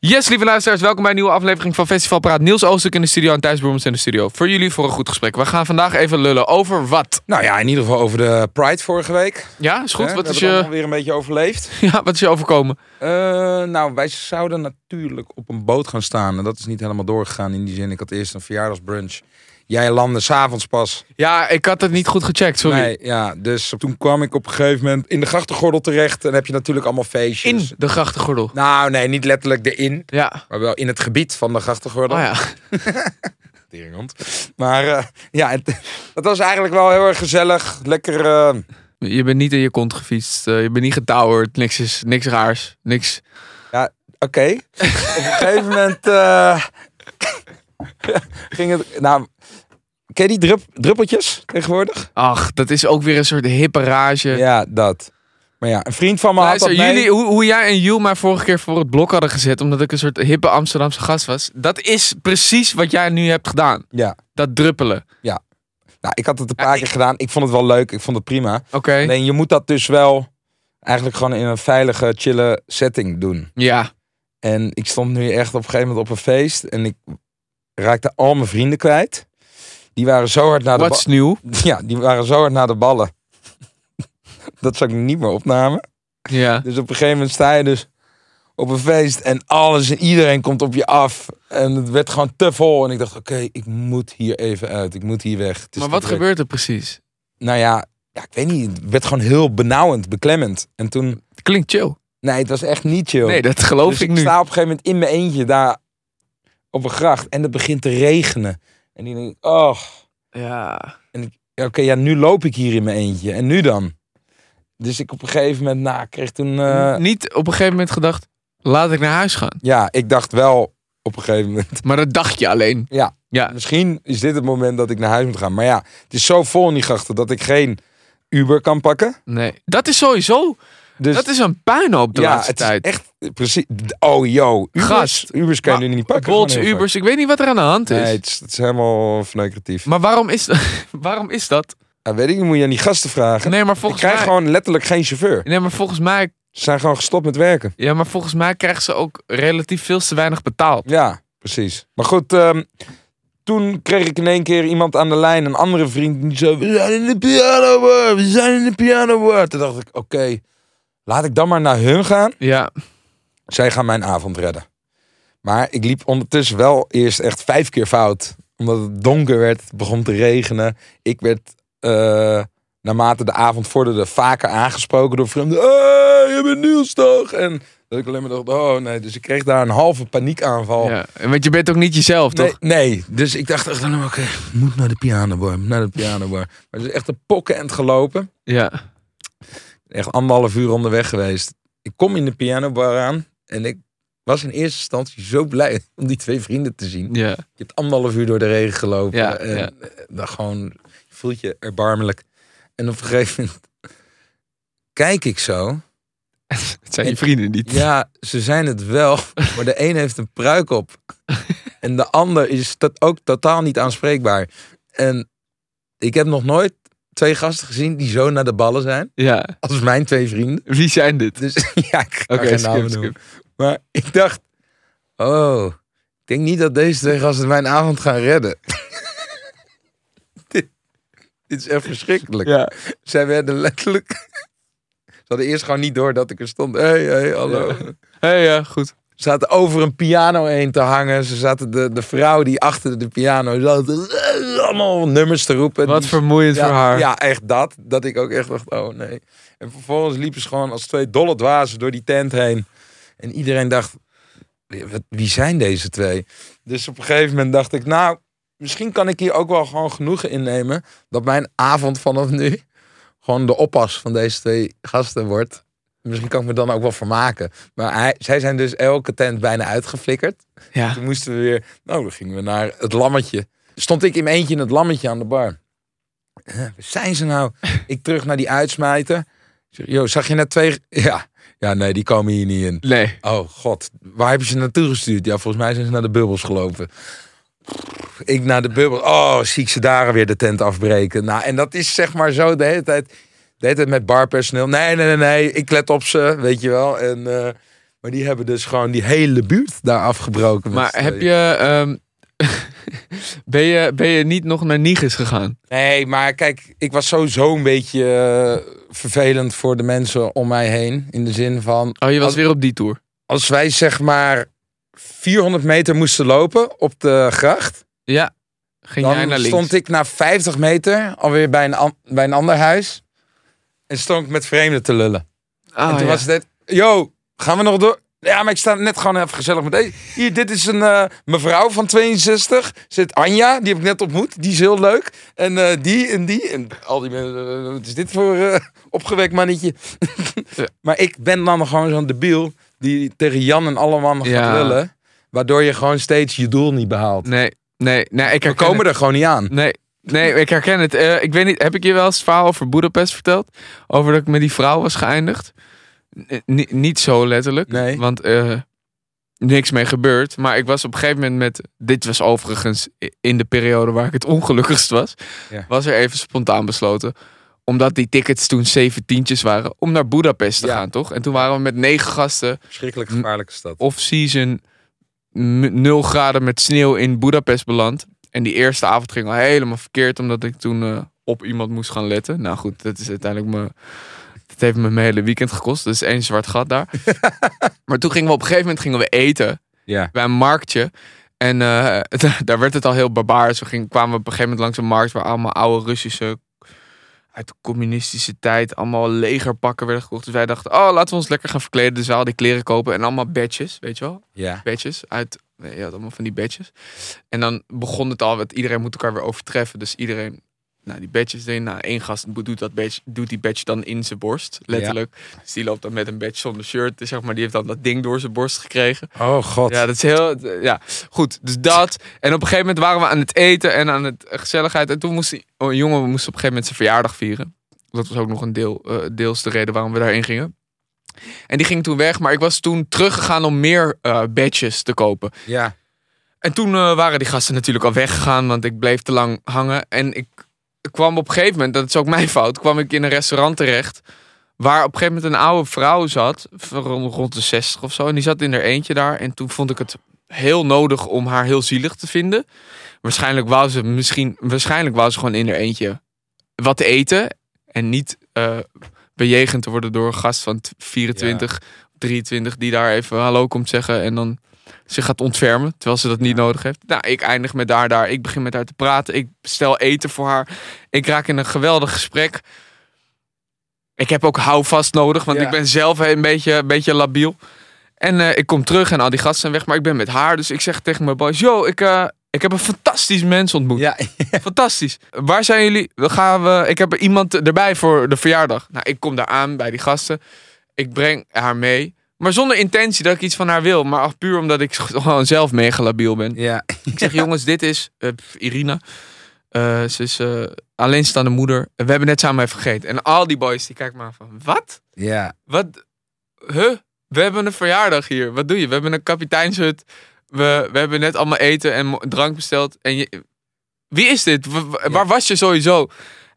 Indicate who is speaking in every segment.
Speaker 1: Yes, lieve luisteraars, welkom bij een nieuwe aflevering van Festival Praat. Niels Oostuk in de studio en Thijs Boermans in de studio. Voor jullie voor een goed gesprek. We gaan vandaag even lullen over wat.
Speaker 2: Nou ja, in ieder geval over de Pride vorige week.
Speaker 1: Ja, is goed.
Speaker 2: Hè,
Speaker 1: Wat
Speaker 2: we
Speaker 1: is,
Speaker 2: hebben
Speaker 1: je,
Speaker 2: weer een beetje overleefd.
Speaker 1: ja, wat is je overkomen?
Speaker 2: Eh, nou, wij zouden natuurlijk op een boot gaan staan. En dat is niet helemaal doorgegaan in die zin. Ik had eerst een verjaardagsbrunch. Jij landde s'avonds pas.
Speaker 1: Ja, ik had het niet goed gecheckt, sorry.
Speaker 2: Nee, ja, dus toen kwam ik op een gegeven moment in de grachtengordel terecht. En heb je natuurlijk allemaal
Speaker 1: In
Speaker 2: feestjes.
Speaker 1: de grachtengordel.
Speaker 2: Nou, nee, niet letterlijk erin.
Speaker 1: Ja.
Speaker 2: Maar wel in het gebied van de grachtengordel.
Speaker 1: Oh ja.
Speaker 2: Teringhond. Maar eh, ja, het- dat was eigenlijk wel heel erg gezellig. Lekker... eh,
Speaker 1: Je bent niet in je kont gefietst. eh, je bent niet getouwerd. Niks is niks raars. Niks.
Speaker 2: Oké. Op een gegeven moment eh, ging het. Nou, ken je die drup, druppeltjes tegenwoordig?
Speaker 1: Ach, dat is ook weer een soort hippe rage.
Speaker 2: Ja, dat. Maar ja, een vriend van me had dat
Speaker 1: Luister,
Speaker 2: mee.
Speaker 1: jullie, hoe, hoe jij en Jules mij vorige keer voor het blok hadden gezet, omdat ik een soort hippe Amsterdamse gast was, dat is precies wat jij nu hebt gedaan.
Speaker 2: Ja.
Speaker 1: Dat druppelen.
Speaker 2: Nou, ik had het een
Speaker 1: Ja,
Speaker 2: paar
Speaker 1: ik-
Speaker 2: keer gedaan. Ik vond het wel leuk. Ik vond het prima.
Speaker 1: Oké.
Speaker 2: Alleen je moet dat dus wel eigenlijk gewoon in een veilige, chille setting doen.
Speaker 1: Ja.
Speaker 2: En ik stond nu echt op een gegeven moment op een feest en ik raakte al mijn vrienden kwijt. Die waren zo hard naar de
Speaker 1: What's nieuw?
Speaker 2: ba- Ja, die waren zo hard naar de ballen. dat zou ik niet meer opnamen.
Speaker 1: Ja.
Speaker 2: Dus op een gegeven moment sta je dus op een feest en alles en iedereen komt op je af. En het werd gewoon te vol. En ik dacht, oké, ik moet hier even uit. Ik moet hier weg. Het is
Speaker 1: Maar
Speaker 2: te
Speaker 1: wat
Speaker 2: druk.
Speaker 1: gebeurt er precies?
Speaker 2: Nou ja, ja, ik weet niet. Het werd gewoon heel benauwend, beklemmend. En toen,
Speaker 1: Het klinkt chill.
Speaker 2: nee, het was echt niet chill.
Speaker 1: Nee, dat geloof
Speaker 2: dus
Speaker 1: ik nu.
Speaker 2: sta op een gegeven moment in mijn eentje daar op een gracht. En het begint te regenen. En die denk ik, oh,
Speaker 1: Ja.
Speaker 2: ja, oké, ja, nu loop ik hier in mijn eentje. En nu dan? Dus ik op een gegeven moment, nou, ik kreeg toen... eh,
Speaker 1: Niet op een gegeven moment gedacht, laat ik naar huis gaan.
Speaker 2: ja, ik dacht wel op een gegeven moment...
Speaker 1: Maar dat dacht je alleen.
Speaker 2: Ja.
Speaker 1: Ja.
Speaker 2: Misschien is dit het moment dat ik naar huis moet gaan. Maar ja, het is zo vol in die grachten dat ik geen Uber kan pakken.
Speaker 1: Nee. Dat is sowieso,
Speaker 2: Dus
Speaker 1: dat is een puinhoop de
Speaker 2: ja,
Speaker 1: laatste
Speaker 2: het is
Speaker 1: tijd.
Speaker 2: echt precies. Oh yo, Ubers,
Speaker 1: Gast.
Speaker 2: Ubers kan je
Speaker 1: Maar
Speaker 2: nu niet pakken.
Speaker 1: Bolts,
Speaker 2: gewoon heel vaak.
Speaker 1: Ubers, ik weet niet wat er aan de hand is.
Speaker 2: Nee, het is, het is helemaal verneukeratief.
Speaker 1: Maar waarom is, waarom is dat?
Speaker 2: Ja, weet ik niet, moet je aan die gasten vragen.
Speaker 1: Nee, maar
Speaker 2: ik
Speaker 1: volgens
Speaker 2: krijg
Speaker 1: mij...
Speaker 2: gewoon letterlijk geen chauffeur.
Speaker 1: Nee, maar volgens mij...
Speaker 2: Ze zijn gewoon gestopt met werken.
Speaker 1: Ja, maar volgens mij krijgen ze ook relatief veel te weinig betaald.
Speaker 2: Ja, precies. Maar goed, ehm, toen kreeg ik in één keer iemand aan de lijn, een andere vriend, die zo... We zijn in de piano world, we zijn in de piano world. Toen dacht ik, oké, laat ik dan maar naar hun gaan.
Speaker 1: Ja.
Speaker 2: Zij gaan mijn avond redden. Maar ik liep ondertussen wel eerst echt vijf keer fout. Omdat het donker werd, het begon te regenen. Ik werd eh, naarmate de avond vorderde vaker aangesproken door vreemden. Hey, je bent Niels toch? En dat ik alleen maar dacht, oh nee. Dus ik kreeg daar een halve paniekaanval.
Speaker 1: ja. Want je bent ook niet jezelf,
Speaker 2: Oh. Nee,
Speaker 1: toch?
Speaker 2: nee, dus ik dacht echt, nou, oké, ik moet naar de pianobar, naar de pianobar. Maar het is echt een pokkenend gelopen.
Speaker 1: Ja.
Speaker 2: Echt anderhalf uur onderweg geweest. Ik kom in de pianobar aan en ik was in eerste instantie zo blij om die twee vrienden te zien.
Speaker 1: Ja.
Speaker 2: Je hebt anderhalf uur door de regen gelopen.
Speaker 1: Ja,
Speaker 2: en
Speaker 1: ja.
Speaker 2: eh, dan gewoon je voelt je erbarmelijk. En op een gegeven moment kijk ik zo.
Speaker 1: Het zijn je vrienden niet.
Speaker 2: Ja, ze zijn het wel, maar de een heeft een pruik op. En de ander is dat ook totaal niet aanspreekbaar. En ik heb nog nooit twee gasten gezien die zo naar de ballen zijn.
Speaker 1: Ja.
Speaker 2: Als mijn twee vrienden.
Speaker 1: Wie zijn dit?
Speaker 2: Dus ja, ik kan
Speaker 1: Oké,
Speaker 2: geen
Speaker 1: skip,
Speaker 2: namen
Speaker 1: skip.
Speaker 2: noemen. Maar ik dacht, oh, ik denk niet dat deze twee gasten mijn avond gaan redden. dit, dit is echt verschrikkelijk.
Speaker 1: Ja.
Speaker 2: Zij werden letterlijk... Ze hadden eerst gewoon niet door dat ik er stond. hey, hey, hallo.
Speaker 1: Hey, ja, goed.
Speaker 2: Ze zaten over een piano heen te hangen. Ze zaten de, de vrouw die achter de piano zat, eh, allemaal nummers te roepen.
Speaker 1: Wat
Speaker 2: Die-
Speaker 1: vermoeiend
Speaker 2: ja,
Speaker 1: voor haar.
Speaker 2: Ja, echt dat. Dat ik ook echt dacht, oh nee. En vervolgens liepen ze gewoon als twee dolle dwazen door die tent heen. En iedereen dacht, wat, wie zijn deze twee? Dus op een gegeven moment dacht ik, nou, misschien kan ik hier ook wel gewoon genoegen innemen. Dat mijn avond vanaf nu gewoon de oppas van deze twee gasten wordt. Misschien kan ik me dan ook wel vermaken. Maar hij, zij zijn dus elke tent bijna uitgeflikkerd.
Speaker 1: Ja.
Speaker 2: Toen moesten we weer, nou, dan gingen we naar het lammetje. Stond ik in mijn eentje in het lammetje aan de bar. Hè, Waar zijn ze nou? Ik terug naar die uitsmijter. Ik zeg, Yo, zag je net twee... Ja, Ja, nee, die komen hier niet in.
Speaker 1: Nee.
Speaker 2: Oh god, waar hebben ze naartoe gestuurd? Ja, volgens mij zijn ze naar de bubbels gelopen. Ik naar de bubbels. Oh, zie ik ze daar weer de tent afbreken. Nou, en dat is zeg maar zo de hele tijd. De hele tijd met barpersoneel. Nee, nee, nee, nee. Ik let op ze, weet je wel. En, eh, maar die hebben dus gewoon die hele buurt daar afgebroken. met
Speaker 1: Maar
Speaker 2: z'n
Speaker 1: heb
Speaker 2: tweeën.
Speaker 1: je, ehm, ben je... Ben je niet nog naar Nigis gegaan?
Speaker 2: Nee, maar kijk, ik was sowieso een beetje eh, vervelend voor de mensen om mij heen. In de zin van,
Speaker 1: Oh, je was
Speaker 2: Als-
Speaker 1: weer op die tour.
Speaker 2: als wij zeg maar 400 meter moesten lopen op de gracht.
Speaker 1: Ja. Ging jij
Speaker 2: Dan
Speaker 1: naar links?
Speaker 2: stond ik na 50 meter alweer bij een, an- bij een ander huis. En stond ik met vreemden te lullen.
Speaker 1: Ah,
Speaker 2: en toen
Speaker 1: ja.
Speaker 2: was het, yo, gaan we nog door? Ja, maar ik sta net gewoon even gezellig met deze. Hier, dit is een eh, mevrouw van 62. Zit Anja, die heb ik net ontmoet. Die is heel leuk. En eh, die en die. En al die mensen, eh, wat is dit voor eh, opgewekt mannetje? maar ik ben dan gewoon zo'n debiel die tegen Jan en alle mannen
Speaker 1: Ja.
Speaker 2: gaat lullen. Waardoor je gewoon steeds je doel niet behaalt.
Speaker 1: Nee, nee, nee. Ik
Speaker 2: we
Speaker 1: herken
Speaker 2: komen
Speaker 1: het.
Speaker 2: er gewoon niet aan.
Speaker 1: Nee, nee, ik herken het. Eh, ik weet niet, heb ik je wel eens het verhaal over Boedapest verteld? Over dat ik met die vrouw was geëindigd? N- eh, ni- niet zo letterlijk,
Speaker 2: Nee.
Speaker 1: want eh, niks mee gebeurd. Maar ik was op een gegeven moment met... Dit was overigens i- in de periode waar ik het ongelukkigst was.
Speaker 2: Ja.
Speaker 1: Was er even spontaan besloten omdat die tickets toen zeventientjes waren, om naar Boedapest te
Speaker 2: Ja.
Speaker 1: gaan, toch? En toen waren we met negen gasten
Speaker 2: Schrikkelijk gevaarlijke stad.
Speaker 1: off-season 0 graden met sneeuw in Budapest beland. En die eerste avond ging al helemaal verkeerd, omdat ik toen eh, op iemand moest gaan letten. Nou goed, dat is uiteindelijk me. Dat heeft me mijn hele weekend gekost. Dus één zwart gat daar. maar toen gingen we op een gegeven moment gingen we eten
Speaker 2: Ja.
Speaker 1: bij een marktje. En eh, da- daar werd het al heel barbaars. We gingen, kwamen op een gegeven moment langs een markt waar allemaal oude Russische uit de communistische tijd allemaal legerpakken werden gekocht. Dus wij dachten, oh, laten we ons lekker gaan verkleden. Dus we hadden die kleren kopen en allemaal badges, weet je wel?
Speaker 2: Ja.
Speaker 1: Badges uit, nee, je had allemaal van die badges. En dan begon het al, want iedereen moet elkaar weer overtreffen. Dus iedereen, nou die badges erin. Nou, één gast bo- doet, dat badge, doet die badge dan in zijn borst, letterlijk. Dus die loopt dan met een badge zonder shirt. Dus zeg maar, die heeft dan dat ding door zijn borst gekregen.
Speaker 2: Oh god.
Speaker 1: Ja, dat is heel. Ja, goed. Dus dat. En op een gegeven moment waren we aan het eten en aan het gezelligheid. En toen moest die, oh, een jongen moest op een gegeven moment zijn verjaardag vieren. Dat was ook nog een deel, eh, deels de reden waarom we daarin gingen. En die ging toen weg, maar ik was toen teruggegaan om meer eh badges te kopen.
Speaker 2: Ja.
Speaker 1: En toen eh, waren die gasten natuurlijk al weggegaan, want ik bleef te lang hangen. En ik kwam op een gegeven moment, dat is ook mijn fout, kwam ik in een restaurant terecht. Waar op een gegeven moment een oude vrouw zat, van rond rond de 60 of zo. En die zat in haar eentje daar. En toen vond ik het heel nodig om haar heel zielig te vinden. Waarschijnlijk wou ze misschien, waarschijnlijk wou ze gewoon in haar eentje wat te eten. En niet eh, bejegend te worden door een gast van t- 24, 23, die daar even hallo komt zeggen. En dan zich gaat ontfermen, terwijl ze dat niet nodig heeft. Nou, ik eindig met haar daar. Ik begin met haar te praten. Ik bestel eten voor haar. Ik raak in een geweldig gesprek. Ik heb ook houvast nodig, want
Speaker 2: Ja.
Speaker 1: ik ben zelf een beetje, een beetje labiel. En eh, ik kom terug en al die gasten zijn weg, maar ik ben met haar. Dus ik zeg tegen mijn boys, yo, ik, eh, ik heb een fantastisch mens ontmoet.
Speaker 2: Ja.
Speaker 1: Fantastisch. Waar zijn jullie? We gaan we, ik heb iemand erbij voor de verjaardag. Nou, ik kom daar aan bij die gasten. Ik breng haar mee. Maar zonder intentie dat ik iets van haar wil. Maar ach, puur omdat ik gewoon zelf mega labiel ben.
Speaker 2: Ja.
Speaker 1: Ik zeg, jongens, dit is eh, pff, Irina. Eh, ze is eh, alleenstaande moeder. We hebben net samen even gegeten. En al die boys die kijken me aan van, wat?
Speaker 2: Ja.
Speaker 1: Wat? Huh? We hebben een verjaardag hier. Wat doe je? We hebben een kapiteinshut. We, we hebben net allemaal eten en mo- drank besteld. En je, wie is dit? Wa- wa- Waar was je sowieso?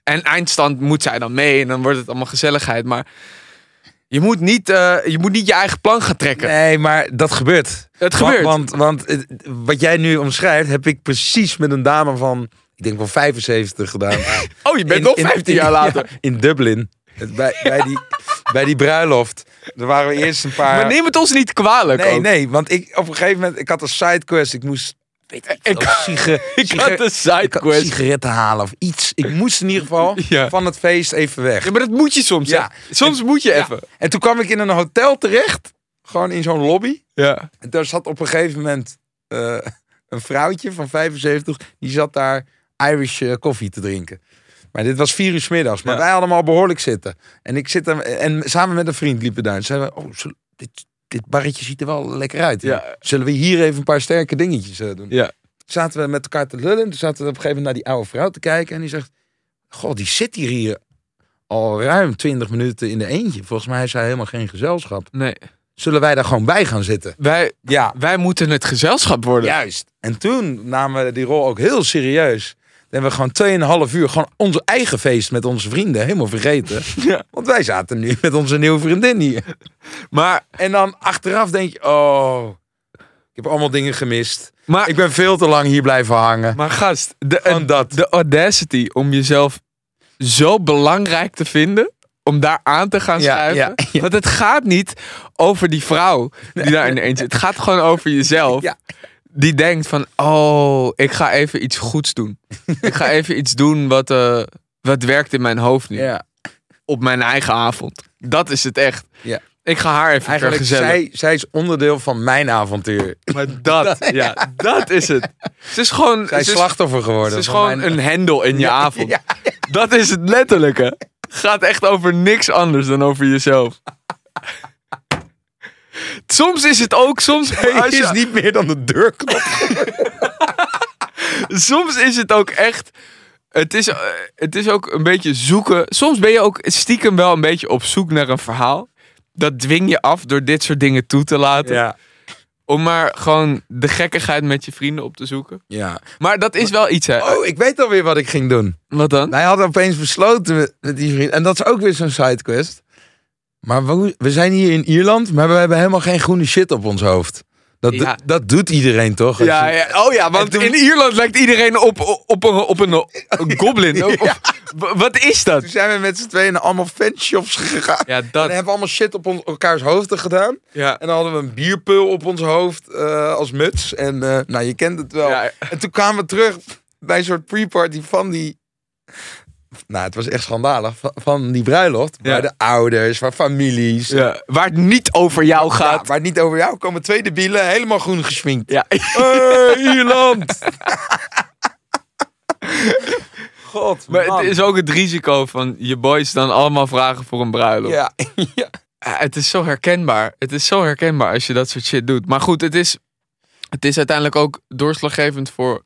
Speaker 1: En eindstand moet zij dan mee. En dan wordt het allemaal gezelligheid. Maar je moet niet, eh, je, moet niet je eigen plan gaan trekken.
Speaker 2: Nee, maar dat gebeurt.
Speaker 1: Het gebeurt.
Speaker 2: Want, want, want het- wat jij nu omschrijft, heb ik precies met een dame van, ik denk wel 75 gedaan.
Speaker 1: oh, je bent nog 15 jaar later.
Speaker 2: ja, in Dublin. Het- Bij, bij, die, bij die bruiloft. Daar waren we eerst een paar...
Speaker 1: Maar neem het ons niet kwalijk.
Speaker 2: nee,
Speaker 1: ook.
Speaker 2: nee, want ik op een gegeven moment, ik had een sidequest. Ik moest
Speaker 1: Ik, ik had een
Speaker 2: ik had
Speaker 1: sidequest.
Speaker 2: sigaretten halen of iets. Ik moest in ieder geval
Speaker 1: Ja.
Speaker 2: van het feest even weg.
Speaker 1: Ja, maar dat moet je soms.
Speaker 2: Ja.
Speaker 1: hè. Soms moet je even.
Speaker 2: En toen kwam ik in een hotel terecht. Gewoon in zo'n lobby.
Speaker 1: Ja.
Speaker 2: En daar zat op een gegeven moment eh, een vrouwtje van 75, die zat daar Irish eh, koffie te drinken. Maar dit was vier uur 's middags, maar wij hadden hem al behoorlijk zitten. En ik zit er, en samen met een vriend liepen we daar. En zeiden we, oh, zul- dit, dit barretje ziet er wel lekker uit.
Speaker 1: Ja.
Speaker 2: Zullen we hier even een paar sterke dingetjes eh, doen?
Speaker 1: Ja.
Speaker 2: Zaten we met elkaar te lullen. Toen zaten we op een gegeven moment naar die oude vrouw te kijken. En die zegt, goh, die zit hier, hier al ruim 20 minuten in de eentje. Volgens mij is hij helemaal geen gezelschap.
Speaker 1: Nee.
Speaker 2: Zullen wij daar gewoon bij gaan zitten?
Speaker 1: Wij,
Speaker 2: Ja,
Speaker 1: wij moeten het gezelschap worden.
Speaker 2: juist. En toen namen we die rol ook heel serieus. Dan hebben we gewoon 2,5 uur gewoon ons eigen feest met onze vrienden helemaal vergeten.
Speaker 1: Ja.
Speaker 2: Want wij zaten nu met onze nieuwe vriendin hier.
Speaker 1: Maar,
Speaker 2: En dan achteraf denk je, oh, ik heb allemaal dingen gemist.
Speaker 1: maar,
Speaker 2: Ik ben veel te lang hier blijven hangen.
Speaker 1: maar gast, de,
Speaker 2: Gewoon dat.
Speaker 1: de audacity om jezelf zo belangrijk te vinden. Om daar aan te gaan
Speaker 2: Ja,
Speaker 1: schuiven.
Speaker 2: ja, ja.
Speaker 1: Want het gaat niet over die vrouw die daar ineens zit. Het gaat gewoon over jezelf.
Speaker 2: Ja.
Speaker 1: Die denkt van, oh, ik ga even iets goeds doen. ik ga even iets doen wat, eh, wat werkt in mijn hoofd nu.
Speaker 2: Ja,
Speaker 1: Op mijn eigen avond. Dat is het echt.
Speaker 2: Ja.
Speaker 1: Ik ga haar even
Speaker 2: eigenlijk,
Speaker 1: vergezellen.
Speaker 2: zij, zij is onderdeel van mijn avontuur.
Speaker 1: Maar dat, ja, dat is het. Het is gewoon,
Speaker 2: Zij
Speaker 1: het
Speaker 2: is
Speaker 1: is,
Speaker 2: slachtoffer geworden.
Speaker 1: het is
Speaker 2: van
Speaker 1: gewoon
Speaker 2: mijn-
Speaker 1: een hendel in je avond.
Speaker 2: Ja,
Speaker 1: Dat is het letterlijke. Gaat echt over niks anders dan over jezelf. Soms is het ook, soms, als
Speaker 2: Hij
Speaker 1: je-
Speaker 2: is niet meer dan de deurknop.
Speaker 1: soms is het ook echt. Het is, eh, het is ook een beetje zoeken. Soms ben je ook stiekem wel een beetje op zoek naar een verhaal. Dat dwing je af door dit soort dingen toe te laten.
Speaker 2: Ja.
Speaker 1: Om maar gewoon de gekkigheid met je vrienden op te zoeken.
Speaker 2: ja.
Speaker 1: Maar dat is wel iets, hè?
Speaker 2: Oh, ik weet alweer wat ik ging doen.
Speaker 1: Wat dan?
Speaker 2: Wij hadden opeens besloten met, met die vriend. En dat is ook weer zo'n sidequest. Maar we, we zijn hier in Ierland, maar we hebben helemaal geen groene shit op ons hoofd. Dat,
Speaker 1: Ja.
Speaker 2: dat doet iedereen toch? Als
Speaker 1: Ja,
Speaker 2: je-
Speaker 1: ja, oh ja, want
Speaker 2: En toen-
Speaker 1: in Ierland lijkt iedereen op, op, een, op een, een goblin. Of- of- w- wat is dat?
Speaker 2: Toen zijn we met z'n tweeën naar allemaal fanshops gegaan.
Speaker 1: Ja,
Speaker 2: En
Speaker 1: dat.
Speaker 2: hebben we allemaal shit op ons, elkaars hoofden gedaan.
Speaker 1: Ja.
Speaker 2: En dan hadden we een bierpul op ons hoofd eh, als muts. En eh, nou, je kent het wel.
Speaker 1: Ja.
Speaker 2: En toen kwamen we terug bij een soort pre-party van die... Nou, het was echt schandalig. Van, van die bruiloft.
Speaker 1: Ja.
Speaker 2: Waar de ouders, waar families.
Speaker 1: Ja, Waar het niet over jou
Speaker 2: Ja,
Speaker 1: gaat.
Speaker 2: waar het niet over jou komen twee debielen helemaal groen gesminkt.
Speaker 1: Ja. Eh,
Speaker 2: Hey, Ierland! God,
Speaker 1: Maar
Speaker 2: man.
Speaker 1: het is ook het risico van je boys dan allemaal vragen voor een bruiloft.
Speaker 2: Ja,
Speaker 1: Ah, Het is zo herkenbaar. Het is zo herkenbaar als je dat soort shit doet. Maar goed, het is, het is uiteindelijk ook doorslaggevend voor,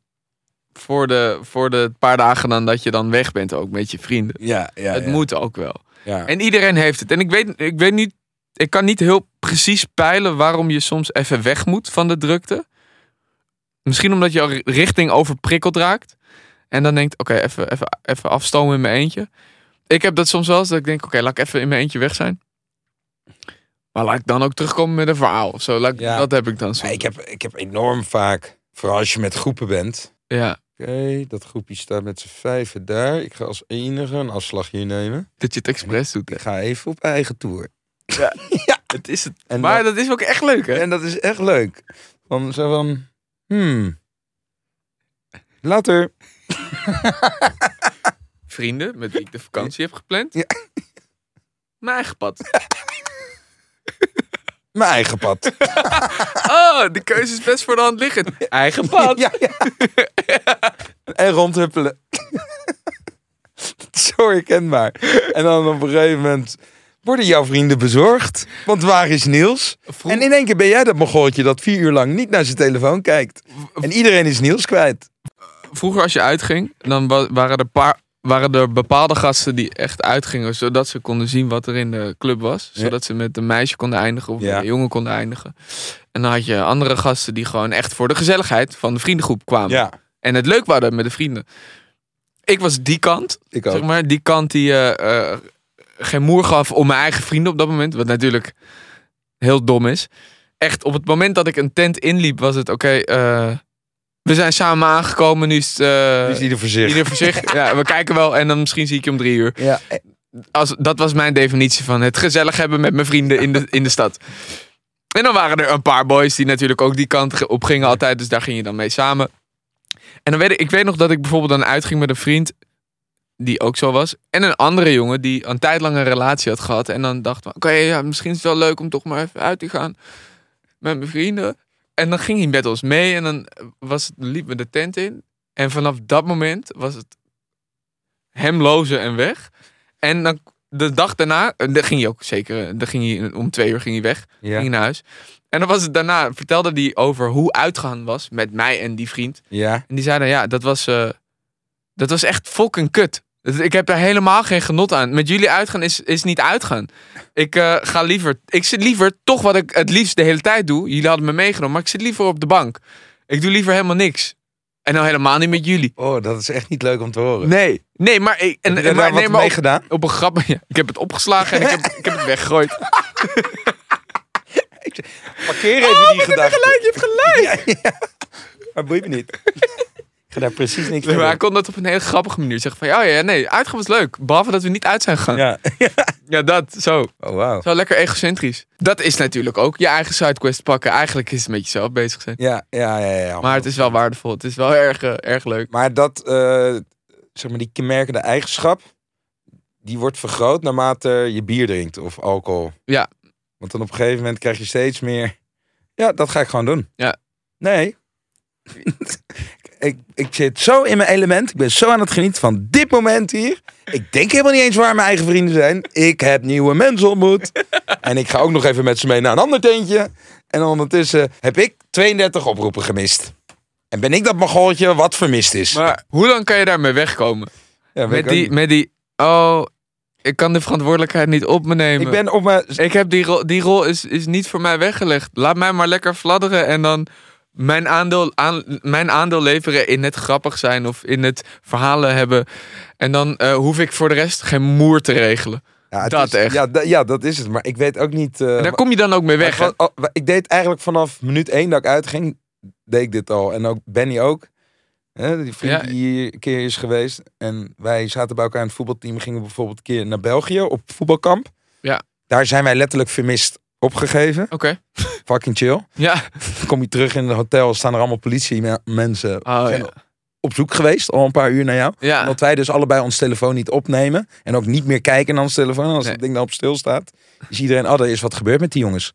Speaker 1: voor, de, voor de paar dagen dan dat je dan weg bent ook met je vrienden.
Speaker 2: ja, ja.
Speaker 1: het
Speaker 2: ja.
Speaker 1: moet ook wel.
Speaker 2: Ja.
Speaker 1: En iedereen heeft het. En ik weet, ik weet niet, ik kan niet heel precies peilen waarom je soms even weg moet van de drukte. Misschien omdat je al ri- richting overprikkeld raakt. En dan denkt, oké, even, even, even afstomen in mijn eentje. Ik heb dat soms wel eens, dat ik denk, oké, laat ik even in mijn eentje weg zijn. Maar laat ik dan ook terugkomen met een verhaal of zo. Laat ik-
Speaker 2: Ja.
Speaker 1: Dat heb ik dan
Speaker 2: Ja,
Speaker 1: soms.
Speaker 2: ik, heb, ik heb enorm vaak, vooral als je met groepen bent.
Speaker 1: Ja,
Speaker 2: Oké, dat groepje staat met z'n vijven daar. Ik ga als enige een afslag hier nemen.
Speaker 1: dat je het expres doet. hè.
Speaker 2: Ik ga even op eigen tour.
Speaker 1: Het is het.
Speaker 2: En,
Speaker 1: Maar
Speaker 2: dat,
Speaker 1: dat is ook echt leuk, hè?
Speaker 2: en dat is echt leuk. Van zo van, hmm. Later.
Speaker 1: Vrienden met wie ik de vakantie heb gepland.
Speaker 2: Ja.
Speaker 1: Mijn eigen pad.
Speaker 2: Mijn eigen pad.
Speaker 1: Oh, de keuze is best voor de hand liggend. Eigen pad.
Speaker 2: Ja, ja. en rondhuppelen. Dat is Zo herkenbaar. En dan op een gegeven moment worden jouw vrienden bezorgd. Want waar is Niels?
Speaker 1: Vroeg-
Speaker 2: En in één keer ben jij dat mogooltje dat vier uur lang niet naar zijn telefoon kijkt. En iedereen is Niels kwijt.
Speaker 1: Vroeger als je uitging, dan wa- waren er, paar, waren er bepaalde gasten die echt uitgingen. Zodat ze konden zien wat er in de club was.
Speaker 2: Ja.
Speaker 1: Zodat ze met een meisje konden eindigen of
Speaker 2: Ja.
Speaker 1: met een jongen konden eindigen. En dan had je andere gasten die gewoon echt voor de gezelligheid van de vriendengroep kwamen. En het leuk waren met de vrienden. Ik was die kant,
Speaker 2: ik
Speaker 1: zeg
Speaker 2: ook.
Speaker 1: maar. Die kant die eh, eh, geen moer gaf om mijn eigen vrienden op dat moment. Wat natuurlijk heel dom is. Echt, op het moment dat ik een tent inliep, was het oké. eh, we zijn samen aangekomen, nu is het, eh,
Speaker 2: Dus ieder voor zich.
Speaker 1: ieder voor zich. Ja, we kijken wel en dan misschien zie ik je om drie uur.
Speaker 2: Ja, eh,
Speaker 1: Als, dat was mijn definitie van het gezellig hebben met mijn vrienden in de, in de stad. En dan waren er een paar boys die natuurlijk ook die kant ge- op gingen altijd. Dus daar ging je dan mee samen. En dan weet ik, ik weet nog dat ik bijvoorbeeld dan uitging met een vriend. Die ook zo was. En een andere jongen die een tijd lang een relatie had gehad. En dan dacht, oké, ja, misschien is het wel leuk om toch maar even uit te gaan. Met mijn vrienden. En dan ging hij met ons mee. En dan was het, liep me de tent in. En vanaf dat moment was het hem lozen en weg. En dan, de dag daarna, eh, daar ging hij ook zeker, eh, daar ging hij, om twee uur ging hij weg
Speaker 2: ja,
Speaker 1: ging naar huis. En dan was het daarna, vertelde hij over hoe uitgaan was met mij en die vriend.
Speaker 2: ja.
Speaker 1: En die zeiden, ja, dat was, eh, dat was echt fucking kut. Het- Ik heb daar helemaal geen genot aan. Met jullie uitgaan is, is niet uitgaan. Ik eh, ga liever. Ik zit liever toch wat ik het liefst de hele tijd doe. Jullie hadden me meegenomen, maar ik zit liever op de bank. Ik doe liever helemaal niks. En nou helemaal niet met jullie.
Speaker 2: Oh, dat is echt niet leuk om te horen.
Speaker 1: Nee, nee, maar ik. En,
Speaker 2: Heb je
Speaker 1: en,
Speaker 2: daar
Speaker 1: maar, nee,
Speaker 2: wat
Speaker 1: maar
Speaker 2: mee
Speaker 1: op,
Speaker 2: gedaan?
Speaker 1: op een grap. ja, ik heb het opgeslagen en ik heb, ik heb het weggegooid.
Speaker 2: Parkeer even die gedachte. Oh, je hebt gelijk. Maar boeit me niet. Ik ga daar precies niks
Speaker 1: Nee, maar hij
Speaker 2: mee
Speaker 1: kon dat op een hele grappige manier zeggen. Van oh ja, ja, nee, uitgaan was leuk. Behalve dat we niet uit zijn gegaan.
Speaker 2: doen.
Speaker 1: Ja,
Speaker 2: Ja.
Speaker 1: dat, zo.
Speaker 2: Oh, wauw.
Speaker 1: Zo lekker egocentrisch. Dat is natuurlijk ook je eigen sidequest pakken. Eigenlijk is het met jezelf bezig zijn.
Speaker 2: Ja, ja, ja. ja,
Speaker 1: Maar het is wel waardevol. Het is wel erg, eh, erg leuk.
Speaker 2: Maar dat, eh, zeg maar, die kenmerkende eigenschap, die wordt vergroot naarmate je bier drinkt of alcohol.
Speaker 1: Ja.
Speaker 2: Want dan op een gegeven moment krijg je steeds meer, ja, dat ga ik gewoon doen.
Speaker 1: Ja.
Speaker 2: Nee. ik, ik zit zo in mijn element. Ik ben zo aan het genieten van dit moment hier. Ik denk helemaal niet eens waar mijn eigen vrienden zijn. Ik heb nieuwe mensen ontmoet. en ik ga ook nog even met ze mee naar een ander tentje. En ondertussen heb ik 32 oproepen gemist. En ben ik dat magooltje wat vermist is.
Speaker 1: Maar hoe lang kan je daarmee wegkomen?
Speaker 2: Ja, weet
Speaker 1: Met
Speaker 2: ik ook
Speaker 1: die, met die, oh, ik kan de verantwoordelijkheid niet op me nemen.
Speaker 2: niet. Ik ben op mijn...
Speaker 1: Ik heb die rol, die rol is, is niet voor mij weggelegd. Laat mij maar lekker fladderen en dan mijn aandeel, aan, mijn aandeel leveren in het grappig zijn of in het verhalen hebben. En dan eh, hoef ik voor de rest geen moer te regelen.
Speaker 2: Ja, het
Speaker 1: dat
Speaker 2: is-
Speaker 1: echt.
Speaker 2: Ja, da- ja, dat is het. Eh, Maar ik weet ook niet... eh,
Speaker 1: En daar kom je dan ook mee weg. hè?
Speaker 2: maar het was- oh, ik deed eigenlijk vanaf minuut één dat ik uitging, deed ik dit al. En ook Benny ook. Hè, die vriend
Speaker 1: Ja.
Speaker 2: die hier een keer is geweest. En wij zaten bij elkaar in het voetbalteam. We gingen bijvoorbeeld een keer naar België op voetbalkamp.
Speaker 1: Ja.
Speaker 2: Daar zijn wij letterlijk vermist opgegeven.
Speaker 1: Oké.
Speaker 2: Fucking chill.
Speaker 1: Ja.
Speaker 2: Dan kom je terug in het hotel, staan er allemaal politiemensen
Speaker 1: Oh,
Speaker 2: zijn
Speaker 1: ja.
Speaker 2: op zoek geweest. Al een paar uur naar jou.
Speaker 1: ja.
Speaker 2: Omdat wij dus allebei ons telefoon niet opnemen. En ook niet meer kijken naar ons telefoon. En als
Speaker 1: Nee.
Speaker 2: dat ding dan op stil staat, is iedereen, oh, er is wat gebeurd met die jongens.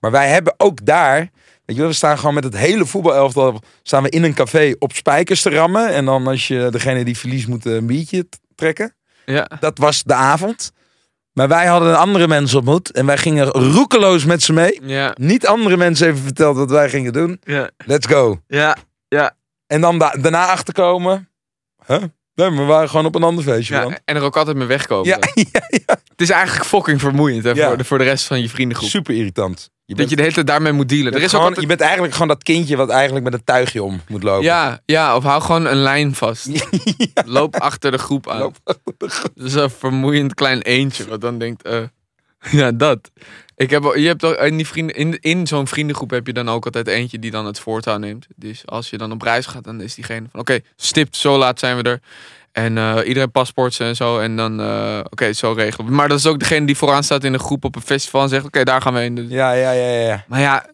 Speaker 2: Maar wij hebben ook daar, weet je wel, we staan gewoon met het hele voetbalelftal, op- staan we in een café op spijkers te rammen. En dan als je degene die verliest moet eh, een biertje t- trekken.
Speaker 1: ja.
Speaker 2: Dat was de avond. Maar wij hadden andere mensen ontmoet en wij gingen roekeloos met ze mee.
Speaker 1: Ja.
Speaker 2: Niet andere mensen even verteld wat wij gingen doen.
Speaker 1: Ja.
Speaker 2: Let's go.
Speaker 1: Ja.
Speaker 2: En dan da- daarna achterkomen. Huh? Nee, maar we waren gewoon op een ander feestje. man.
Speaker 1: En er ook eh, altijd mee wegkomen.
Speaker 2: Ja, ja, ja.
Speaker 1: Het is eigenlijk fucking vermoeiend hè,
Speaker 2: Ja.
Speaker 1: voor, de, voor de rest van je vriendengroep.
Speaker 2: super irritant. Je
Speaker 1: Dat je de hele tijd daarmee moet dealen. Er
Speaker 2: bent
Speaker 1: is ook
Speaker 2: gewoon,
Speaker 1: altijd-
Speaker 2: je bent eigenlijk gewoon dat kindje wat eigenlijk met een tuigje om moet lopen.
Speaker 1: Ja, ja, of hou gewoon een lijn vast. Loop achter de groep aan.
Speaker 2: Loop
Speaker 1: Dat is een vermoeiend klein eentje, wat dan denkt, eh, ja, dat. Ik heb, al- je hebt toch in, die vrienden, in, in zo'n vriendengroep heb je dan ook altijd eentje die dan het voortouw neemt. Dus als je dan op reis gaat, dan is diegene van, oké, stipt, zo laat zijn we er. En eh, iedereen paspoort en zo. En dan, eh, oké, zo regelen we. Maar dat is ook degene die vooraan staat in een groep op een festival en zegt, oké, daar gaan we heen. Dus-
Speaker 2: Ja, ja, ja, ja.
Speaker 1: Maar ja,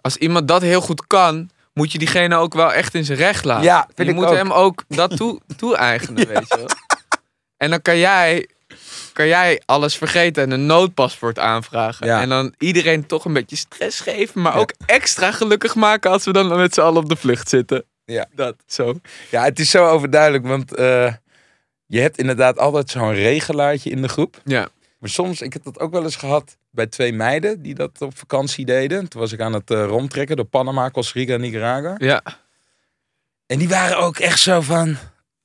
Speaker 1: als iemand dat heel goed kan, moet je diegene ook wel echt in zijn recht laten.
Speaker 2: Ja, vind
Speaker 1: je
Speaker 2: ik
Speaker 1: moet
Speaker 2: ook.
Speaker 1: hem ook dat toe- toe-eigenen, weet je wel. En dan kan jij, kan jij alles vergeten en een noodpaspoort aanvragen.
Speaker 2: Ja.
Speaker 1: En dan iedereen toch een beetje stress geven, maar ook extra gelukkig maken als we dan met z'n allen op de vlucht zitten.
Speaker 2: Ja.
Speaker 1: Dat, zo.
Speaker 2: Ja, het is zo overduidelijk, want eh, je hebt inderdaad altijd zo'n regelaartje in de groep.
Speaker 1: Ja.
Speaker 2: Maar soms, ik heb dat ook wel eens gehad bij twee meiden die dat op vakantie deden. Toen was ik aan het eh, rondtrekken door Panama, Costa Rica, Nicaragua.
Speaker 1: Ja.
Speaker 2: En die waren ook echt zo van,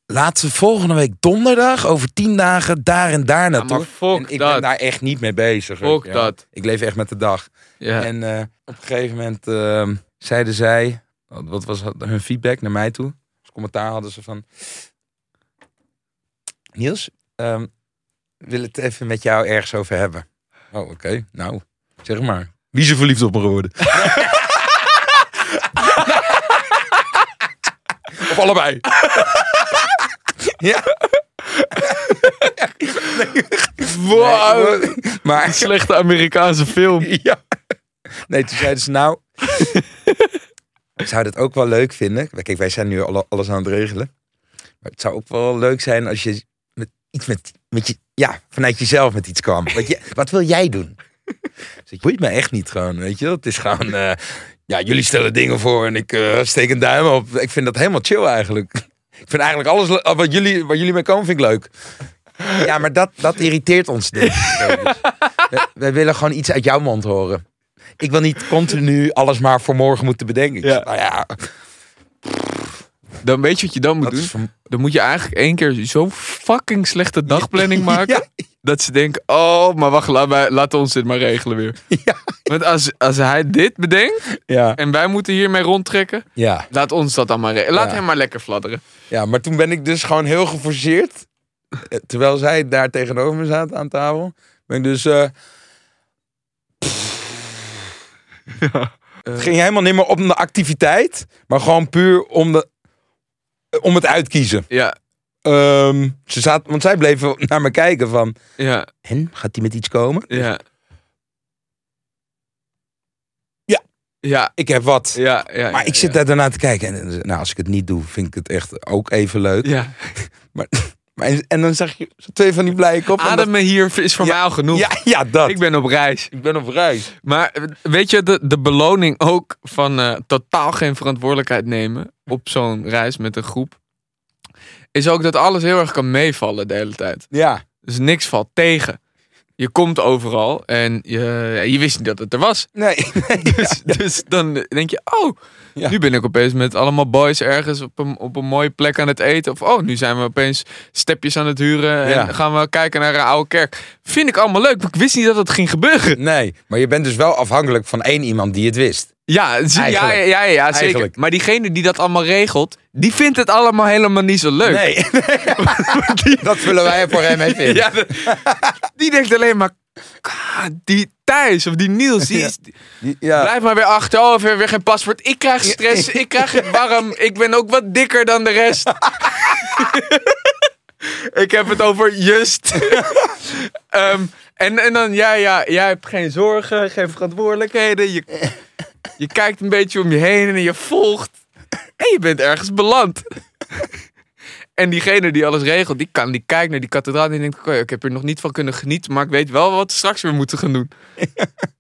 Speaker 2: laten we volgende week donderdag, over tien dagen, daar en daar
Speaker 1: Ja,
Speaker 2: naartoe.
Speaker 1: maar fuck
Speaker 2: en ik ben
Speaker 1: dat.
Speaker 2: daar echt niet mee bezig.
Speaker 1: Fuck
Speaker 2: Ja.
Speaker 1: dat.
Speaker 2: Ik leef echt met de dag.
Speaker 1: Ja.
Speaker 2: En eh, op een gegeven moment ehm, zeiden zij, wat wat was hun feedback naar mij toe? Als commentaar hadden ze van, Niels, ehm wil het even met jou ergens over hebben. Oh, oké. Nou, zeg maar. Wie is er verliefd op me geworden? of allebei. ja.
Speaker 1: Wow.
Speaker 2: Nee, maar
Speaker 1: Slechte Amerikaanse film.
Speaker 2: ja. Nee, toen zeiden ze nou... ik zou dat ook wel leuk vinden. Kijk, wij zijn nu alle- alles aan het regelen. Maar het zou ook wel leuk zijn als je met, iets met, met je... Ja, vanuit jezelf met iets kwam. Wat, je, wat wil jij doen? Dus ik boeit me echt niet gewoon, weet je wel. Het is gewoon... eh, ja, jullie stellen dingen voor en ik eh, steek een duim op. Ik vind dat helemaal chill eigenlijk. Ik vind eigenlijk alles le- wat jullie, waar jullie mee komen, vind ik leuk. Ja, maar dat, dat irriteert ons. Denk ik. We, we willen gewoon iets uit jouw mond horen. Ik wil niet continu alles maar voor morgen moeten bedenken. Ik zeg, Nou ja.
Speaker 1: Dan weet je wat je dan moet
Speaker 2: Dat
Speaker 1: doen?
Speaker 2: is van-
Speaker 1: Dan moet je eigenlijk één keer zo'n fucking slechte dagplanning maken.
Speaker 2: Ja.
Speaker 1: Dat ze denken, oh, maar wacht, laat, wij, laat ons dit maar regelen weer.
Speaker 2: Ja.
Speaker 1: Want als, als hij dit bedenkt
Speaker 2: Ja,
Speaker 1: en wij moeten hiermee rondtrekken,
Speaker 2: ja,
Speaker 1: laat ons dat dan maar regelen. Laat
Speaker 2: Ja.
Speaker 1: hem maar lekker fladderen.
Speaker 2: ja, maar toen ben ik dus gewoon heel geforceerd. eh, Terwijl zij daar tegenover me zaten aan tafel. Ben ik dus... eh, Het ging helemaal niet meer om de activiteit. Maar gewoon puur om, de, eh, om het uitkiezen.
Speaker 1: Ja,
Speaker 2: Ehm, ze zaten, want zij bleven naar me kijken van...
Speaker 1: ja,
Speaker 2: En, gaat die met iets komen?
Speaker 1: ja.
Speaker 2: Ja.
Speaker 1: Ja,
Speaker 2: Ik heb wat.
Speaker 1: ja, ja.
Speaker 2: Maar
Speaker 1: ja,
Speaker 2: ik zit
Speaker 1: ja.
Speaker 2: daar daarna te kijken. En eh, nou, als ik het niet doe, vind ik het echt ook even leuk.
Speaker 1: Ja.
Speaker 2: Maar, en dan zag je twee van die blije koppen. en
Speaker 1: Ademen hier is voor
Speaker 2: Ja,
Speaker 1: mij al genoeg.
Speaker 2: dat- ja, ja, dat.
Speaker 1: Ik ben op reis.
Speaker 2: ik ben op reis.
Speaker 1: Maar eh, weet je, de, de beloning ook van eh, totaal geen verantwoordelijkheid nemen op zo'n reis met een groep. Is ook dat alles heel erg kan meevallen de hele tijd.
Speaker 2: Ja.
Speaker 1: Dus niks valt tegen. Je komt overal en je, je wist niet dat het er was.
Speaker 2: Nee.
Speaker 1: Dus, dus dan denk je, oh,
Speaker 2: Ja.
Speaker 1: nu ben ik opeens met allemaal boys ergens op een, op een mooie plek aan het eten. Of oh, nu zijn we opeens stepjes aan het huren en
Speaker 2: Ja.
Speaker 1: gaan we kijken naar een oude kerk. Vind ik allemaal leuk, maar ik wist niet dat het ging gebeuren.
Speaker 2: nee. Maar je bent dus wel afhankelijk van één iemand die het wist.
Speaker 1: Ja, z- ja, ja,
Speaker 2: Eigenlijk.
Speaker 1: ja, ja, zeker.
Speaker 2: Eigenlijk.
Speaker 1: Maar diegene die dat allemaal regelt, die vindt het allemaal helemaal niet zo leuk.
Speaker 2: Nee. dat vullen wij er voor hem even in.
Speaker 1: Ja, dat- die denkt alleen maar, "Ka, die Thijs of die Niels, die is-
Speaker 2: Die- ja.
Speaker 1: blijf maar weer achter, oh, weer, weer geen paspoort. Ik krijg stress, ik krijg het warm, ik ben ook wat dikker dan de rest. ik heb het over just. Ehm, en, en dan, ja, ja, jij hebt geen zorgen, geen verantwoordelijkheden. Je, je kijkt een beetje om je heen en je volgt. En je bent ergens beland. En diegene die alles regelt, die, kan, die kijkt naar die kathedraal en die denkt... "Oké, ik heb er nog niet van kunnen genieten, maar ik weet wel wat we straks weer moeten gaan doen.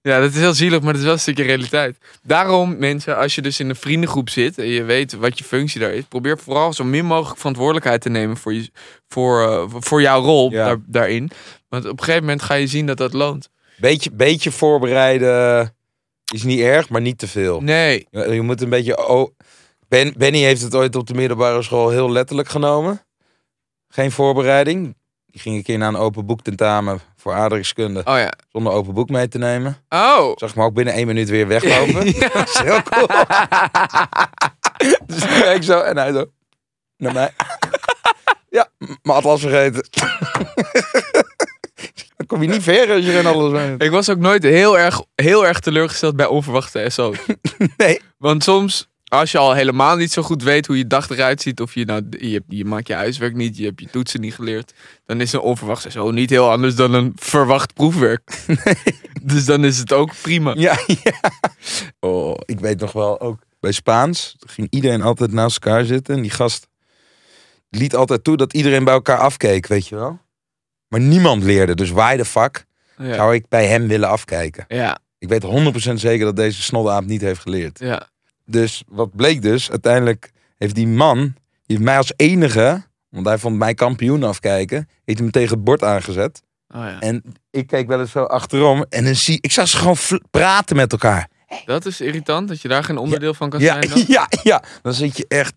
Speaker 1: Ja, dat is heel zielig, maar dat is wel een stukje realiteit. Daarom, mensen, als je dus in een vriendengroep zit en je weet wat je functie daar is, probeer vooral zo min mogelijk verantwoordelijkheid te nemen voor, je, voor, eh, voor jouw rol
Speaker 2: Ja.
Speaker 1: daar, daarin. Want op een gegeven moment ga je zien dat dat loont.
Speaker 2: Beetje, beetje voorbereiden is niet erg, maar niet te veel.
Speaker 1: Nee.
Speaker 2: Je je moet een beetje... Oh, ben, Benny heeft het ooit op de middelbare school heel letterlijk genomen. Geen voorbereiding. Die ging een keer naar een open boek tentamen voor aardrijkskunde.
Speaker 1: Oh ja.
Speaker 2: Zonder open boek mee te nemen.
Speaker 1: Oh.
Speaker 2: Zag ik me ook binnen één minuut weer weglopen. Dat is heel cool. dus ik kijk zo en hij zo naar mij. ja, mijn atlas vergeten. Dan kom je niet ver als je geen alles weet.
Speaker 1: Ik was ook nooit heel erg, heel erg teleurgesteld bij onverwachte SO's.
Speaker 2: Nee.
Speaker 1: Want soms, als je al helemaal niet zo goed weet hoe je dag eruit ziet, of je, nou, je, hebt- je maakt je huiswerk niet, je hebt je toetsen niet geleerd, dan is een onverwacht SO niet heel anders dan een verwacht proefwerk. Dus dan is het ook prima.
Speaker 2: Ja, ja. Oh, ik weet nog wel ook. Bij Spaans ging iedereen altijd naast elkaar zitten. En die gast liet altijd toe dat iedereen bij elkaar afkeek, weet je wel. Maar niemand leerde. Dus why the fuck
Speaker 1: Ja,
Speaker 2: zou ik bij hem willen afkijken?
Speaker 1: ja,
Speaker 2: Ik weet 100% zeker dat deze snoddaap niet heeft geleerd.
Speaker 1: ja.
Speaker 2: Dus wat bleek dus, uiteindelijk heeft die man, die heeft mij als enige, want hij vond mij kampioen afkijken, heeft hem tegen het bord aangezet.
Speaker 1: Oh ja.
Speaker 2: En ik keek wel eens zo achterom en dan zie ik zag ze gewoon fl- praten met elkaar.
Speaker 1: Dat is irritant, dat je daar geen onderdeel van kan
Speaker 2: Ja,
Speaker 1: zijn. Dan.
Speaker 2: ja, ja. Dan zit je echt,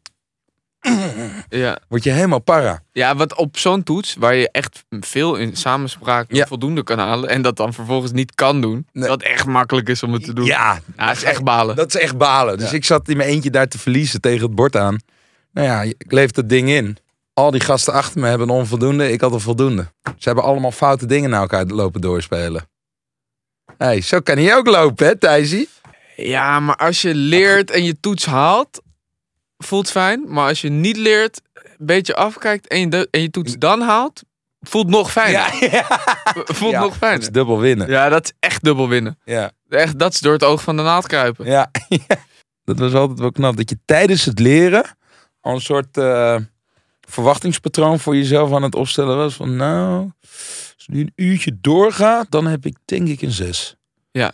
Speaker 1: Ja.
Speaker 2: word je helemaal para.
Speaker 1: ja, want op zo'n toets, waar je echt veel in samenspraak
Speaker 2: Ja.
Speaker 1: voldoende kan halen, en dat dan vervolgens niet kan doen,
Speaker 2: Nee.
Speaker 1: dat echt makkelijk is om het te doen.
Speaker 2: Ja,
Speaker 1: Ja, is echt balen.
Speaker 2: dat is echt balen. Dus
Speaker 1: Ja.
Speaker 2: ik zat in mijn eentje daar te verliezen tegen het bord aan. Nou ja, ik leef dat ding in. Al die gasten achter me hebben een onvoldoende, ik had een voldoende. Ze hebben allemaal foute dingen naar elkaar lopen doorspelen. Hé, hey, zo kan hij ook lopen, hè, Thijsie?
Speaker 1: Ja, maar als je leert en je toets haalt, voelt fijn. Maar als je niet leert, een beetje afkijkt en je, de- en je toets dan haalt, voelt nog fijn. Voelt
Speaker 2: Ja,
Speaker 1: nog
Speaker 2: Het is
Speaker 1: fijn.
Speaker 2: dubbel winnen.
Speaker 1: Ja, dat is echt dubbel winnen.
Speaker 2: Ja.
Speaker 1: Echt, dat is door het oog van de naald kruipen.
Speaker 2: Ja. Dat was altijd wel knap. Dat je tijdens het leren al een soort eh, verwachtingspatroon voor jezelf aan het opstellen was. Van nou, als nu een uurtje doorgaat, dan heb ik denk ik een zes.
Speaker 1: Ja.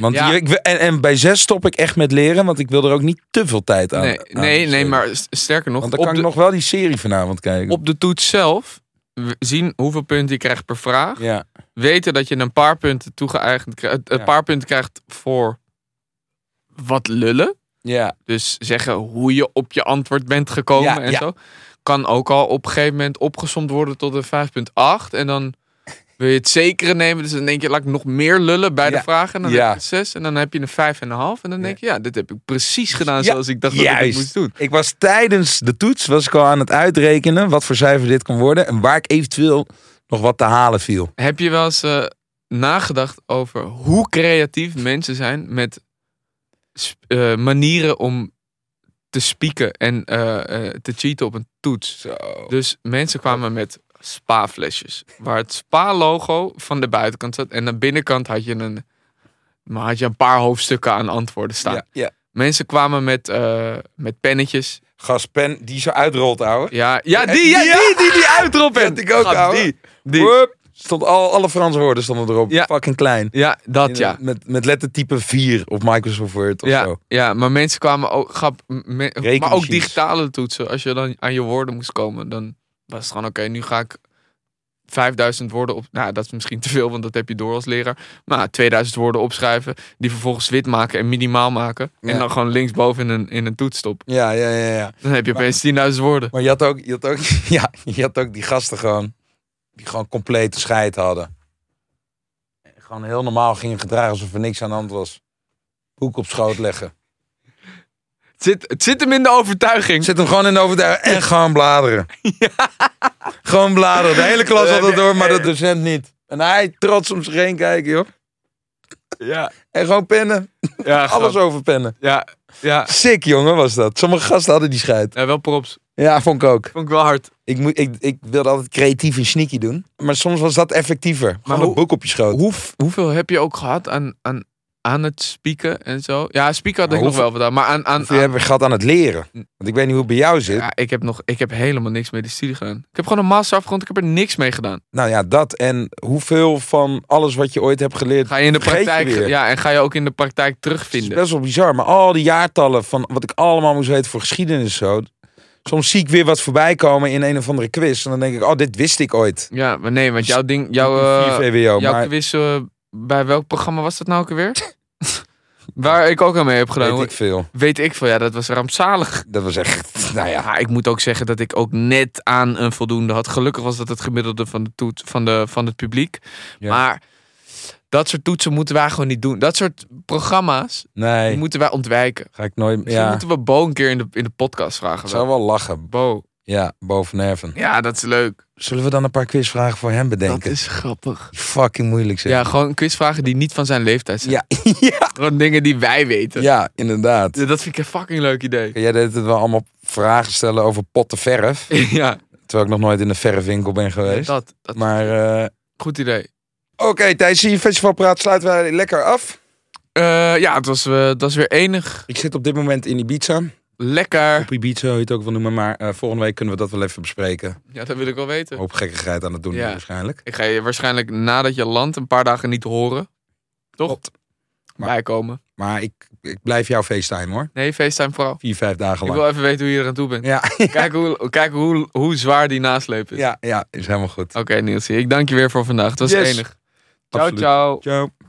Speaker 2: Want
Speaker 1: Ja.
Speaker 2: hier- ik, wil- en, en bij zes stop ik echt met leren, want ik wil er ook niet te veel tijd aan.
Speaker 1: Nee,
Speaker 2: aan
Speaker 1: nee, nee
Speaker 2: besteden.
Speaker 1: maar s- sterker nog,
Speaker 2: nou, Want dan
Speaker 1: op
Speaker 2: kan
Speaker 1: de,
Speaker 2: ik nog wel die serie vanavond kijken.
Speaker 1: op de toets zelf w- zien hoeveel punten je krijgt per vraag.
Speaker 2: Ja.
Speaker 1: Weten dat je een paar punten toegeëigend krijgt, een
Speaker 2: Ja.
Speaker 1: paar punten krijgt voor wat lullen.
Speaker 2: Ja,
Speaker 1: Dus zeggen hoe je op je antwoord bent gekomen
Speaker 2: Ja,
Speaker 1: en
Speaker 2: ja.
Speaker 1: zo. Kan ook al op een gegeven moment opgesomd worden tot een 5,8. En dan wil je het zekere nemen. Dus dan denk je, laat ik nog meer lullen bij de
Speaker 2: Ja,
Speaker 1: vraag. En dan
Speaker 2: ja.
Speaker 1: heb je een 6. En dan heb je een 5,5. En dan denk je, ja, dit heb ik precies gedaan
Speaker 2: Ja,
Speaker 1: zoals ik dacht dat ik het
Speaker 2: juist.
Speaker 1: moest doen.
Speaker 2: Ik was tijdens de toets was ik al aan het uitrekenen wat voor cijfer dit kon worden en waar ik eventueel nog wat te halen viel.
Speaker 1: Heb je wel eens eh, nagedacht over hoe creatief mensen zijn met sp- eh, manieren om te spieken en eh, eh, te cheaten op een toets?
Speaker 2: Zo.
Speaker 1: Dus mensen kwamen met spa-flesjes. Waar het spa-logo van de buitenkant zat. En aan de binnenkant had je een, maar had je een paar hoofdstukken aan antwoorden staan.
Speaker 2: Ja, ja.
Speaker 1: Mensen kwamen met, eh, met pennetjes.
Speaker 2: Gaspen die zo uitrolt, ouwe.
Speaker 1: Ja, ja, die, ja,
Speaker 2: Eh, Ja.
Speaker 1: die, die, die uitroep
Speaker 2: Die had ik ook, ouwe.
Speaker 1: Die, die.
Speaker 2: Wup. Stond al, alle Franse woorden stonden erop.
Speaker 1: Ja.
Speaker 2: Fucking klein.
Speaker 1: Ja, dat
Speaker 2: In-
Speaker 1: ja.
Speaker 2: Met, met lettertype 4 op Microsoft Word of
Speaker 1: Ja,
Speaker 2: zo.
Speaker 1: ja, maar mensen kwamen ook, grap, m- me- maar ook
Speaker 2: Rekenmachines.
Speaker 1: digitale toetsen. Als je dan aan je woorden moest komen, dan was het gewoon oké. nu ga ik 5000 woorden op. Nou, dat is misschien te veel, want dat heb je door als leraar. Maar 2000 woorden opschrijven, die vervolgens wit maken en minimaal maken. En
Speaker 2: Ja.
Speaker 1: dan gewoon linksboven in een, in een toets stoppen.
Speaker 2: Ja, ja, ja, ja.
Speaker 1: Dan heb je opeens 10.000 woorden.
Speaker 2: Maar je had ook, je had ook, ja, je had ook die gasten gewoon, die gewoon complete scheid hadden. En gewoon heel normaal gingen gedragen alsof er niks aan de hand was. Boek op schoot leggen.
Speaker 1: Het zit, het zit hem in de overtuiging.
Speaker 2: Zet hem gewoon in de overtuiging en gewoon bladeren. Gewoon bladeren. De hele klas had dat door, maar de docent niet. En hij trots om zich heen kijken, joh.
Speaker 1: Ja,
Speaker 2: En gewoon pennen.
Speaker 1: ja,
Speaker 2: Alles
Speaker 1: grap.
Speaker 2: over pennen.
Speaker 1: ja, ja.
Speaker 2: Sick, jongen, was dat. Sommige gasten hadden die scheid.
Speaker 1: ja, wel props.
Speaker 2: Ja, vond ik ook.
Speaker 1: Vond ik wel hard.
Speaker 2: Ik, moet, ik, ik wilde altijd creatief en sneaky doen. Maar soms was dat effectiever. Gewoon
Speaker 1: Maar
Speaker 2: een
Speaker 1: hoe-
Speaker 2: boek op je schoot.
Speaker 1: Hoe, hoeveel heb je ook gehad aan, aan, aan het spieken en zo? Ja, spieken had ik
Speaker 2: Maar
Speaker 1: nog wel gedaan. Maar aan, aan,
Speaker 2: Of je hebt gehad aan het leren.
Speaker 1: Mm.
Speaker 2: Want ik weet niet hoe het bij jou zit.
Speaker 1: Ja, ik heb, nog, ik heb helemaal niks mee de studie gedaan. Ik heb gewoon een master afgerond. Ik heb er niks mee gedaan.
Speaker 2: Nou ja, dat. En hoeveel van alles wat je ooit hebt geleerd.
Speaker 1: Ga je in de
Speaker 2: vergeet je
Speaker 1: praktijk...
Speaker 2: weer.
Speaker 1: Ja, en ga je ook in de praktijk
Speaker 2: Het is
Speaker 1: terugvinden.
Speaker 2: best wel bizar. Maar al die jaartallen van wat ik allemaal moest weten voor geschiedenis zo. Soms zie ik weer wat voorbij komen in een of andere quiz. En dan denk ik, oh, dit wist ik ooit.
Speaker 1: Ja, maar nee, want jouw ding... Jouw,
Speaker 2: In
Speaker 1: eh,
Speaker 2: 4 VWO.
Speaker 1: jouw
Speaker 2: Maar
Speaker 1: quiz... eh, bij welk programma was dat nou ook alweer? Waar ik ook aan mee heb gedaan.
Speaker 2: weet
Speaker 1: hoor.
Speaker 2: ik veel.
Speaker 1: veel. Ja, dat was rampzalig.
Speaker 2: Dat was echt, nou ja.
Speaker 1: Ja, ik moet ook zeggen dat ik ook net aan een voldoende had. Gelukkig was dat het gemiddelde van, de toets, van, de, van het publiek.
Speaker 2: Ja.
Speaker 1: Maar dat soort toetsen moeten wij gewoon niet doen. Dat soort programma's
Speaker 2: Nee,
Speaker 1: moeten wij ontwijken.
Speaker 2: ga ik nooit.
Speaker 1: Misschien
Speaker 2: Ja,
Speaker 1: moeten we Bo een keer in de, in de podcast vragen.
Speaker 2: ik zou wel lachen.
Speaker 1: Bo.
Speaker 2: Ja, boven nerven.
Speaker 1: Ja, dat is leuk.
Speaker 2: Zullen we dan een paar quizvragen voor hem bedenken?
Speaker 1: is grappig.
Speaker 2: Die fucking moeilijk zijn.
Speaker 1: Ja, gewoon quizvragen die niet van zijn leeftijd zijn.
Speaker 2: Ja, ja,
Speaker 1: Gewoon dingen die wij weten.
Speaker 2: ja, inderdaad.
Speaker 1: Ja, Dat vind ik een fucking leuk idee.
Speaker 2: Jij deed het wel allemaal vragen stellen over potten verf.
Speaker 1: ja,
Speaker 2: Terwijl ik nog nooit in een verfwinkel ben geweest.
Speaker 1: dat, dat.
Speaker 2: Maar eh,
Speaker 1: Goed idee.
Speaker 2: oké, tijdens je festivalpraat sluiten wij lekker af.
Speaker 1: Eh, ja, het was, eh, dat was weer enig.
Speaker 2: Ik zit op dit moment in Ibiza.
Speaker 1: Lekker.
Speaker 2: Op Ibiza, hoe je het ook wil noemen. Maar eh, volgende week kunnen we dat wel even bespreken.
Speaker 1: Ja, dat wil ik wel
Speaker 2: Een
Speaker 1: weten.
Speaker 2: hoop gekkigheid aan het doen
Speaker 1: Ja.
Speaker 2: waarschijnlijk.
Speaker 1: Ik ga je waarschijnlijk nadat je landt een paar dagen niet horen. Toch?
Speaker 2: Klopt. Maar-
Speaker 1: Bijkomen.
Speaker 2: Maar ik, ik blijf jou facetime hoor.
Speaker 1: Nee, FaceTime vooral.
Speaker 2: Vier, vijf dagen
Speaker 1: Ik
Speaker 2: lang.
Speaker 1: wil even weten hoe je er aan toe bent.
Speaker 2: Ja,
Speaker 1: Kijk, hoe, kijk hoe, hoe zwaar die nasleep is.
Speaker 2: ja, ja, is helemaal goed.
Speaker 1: Oké, Niels, ik dank je weer voor vandaag. Het was
Speaker 2: Yes.
Speaker 1: enig. Ciao,
Speaker 2: Absoluut.
Speaker 1: ciao.
Speaker 2: Ciao.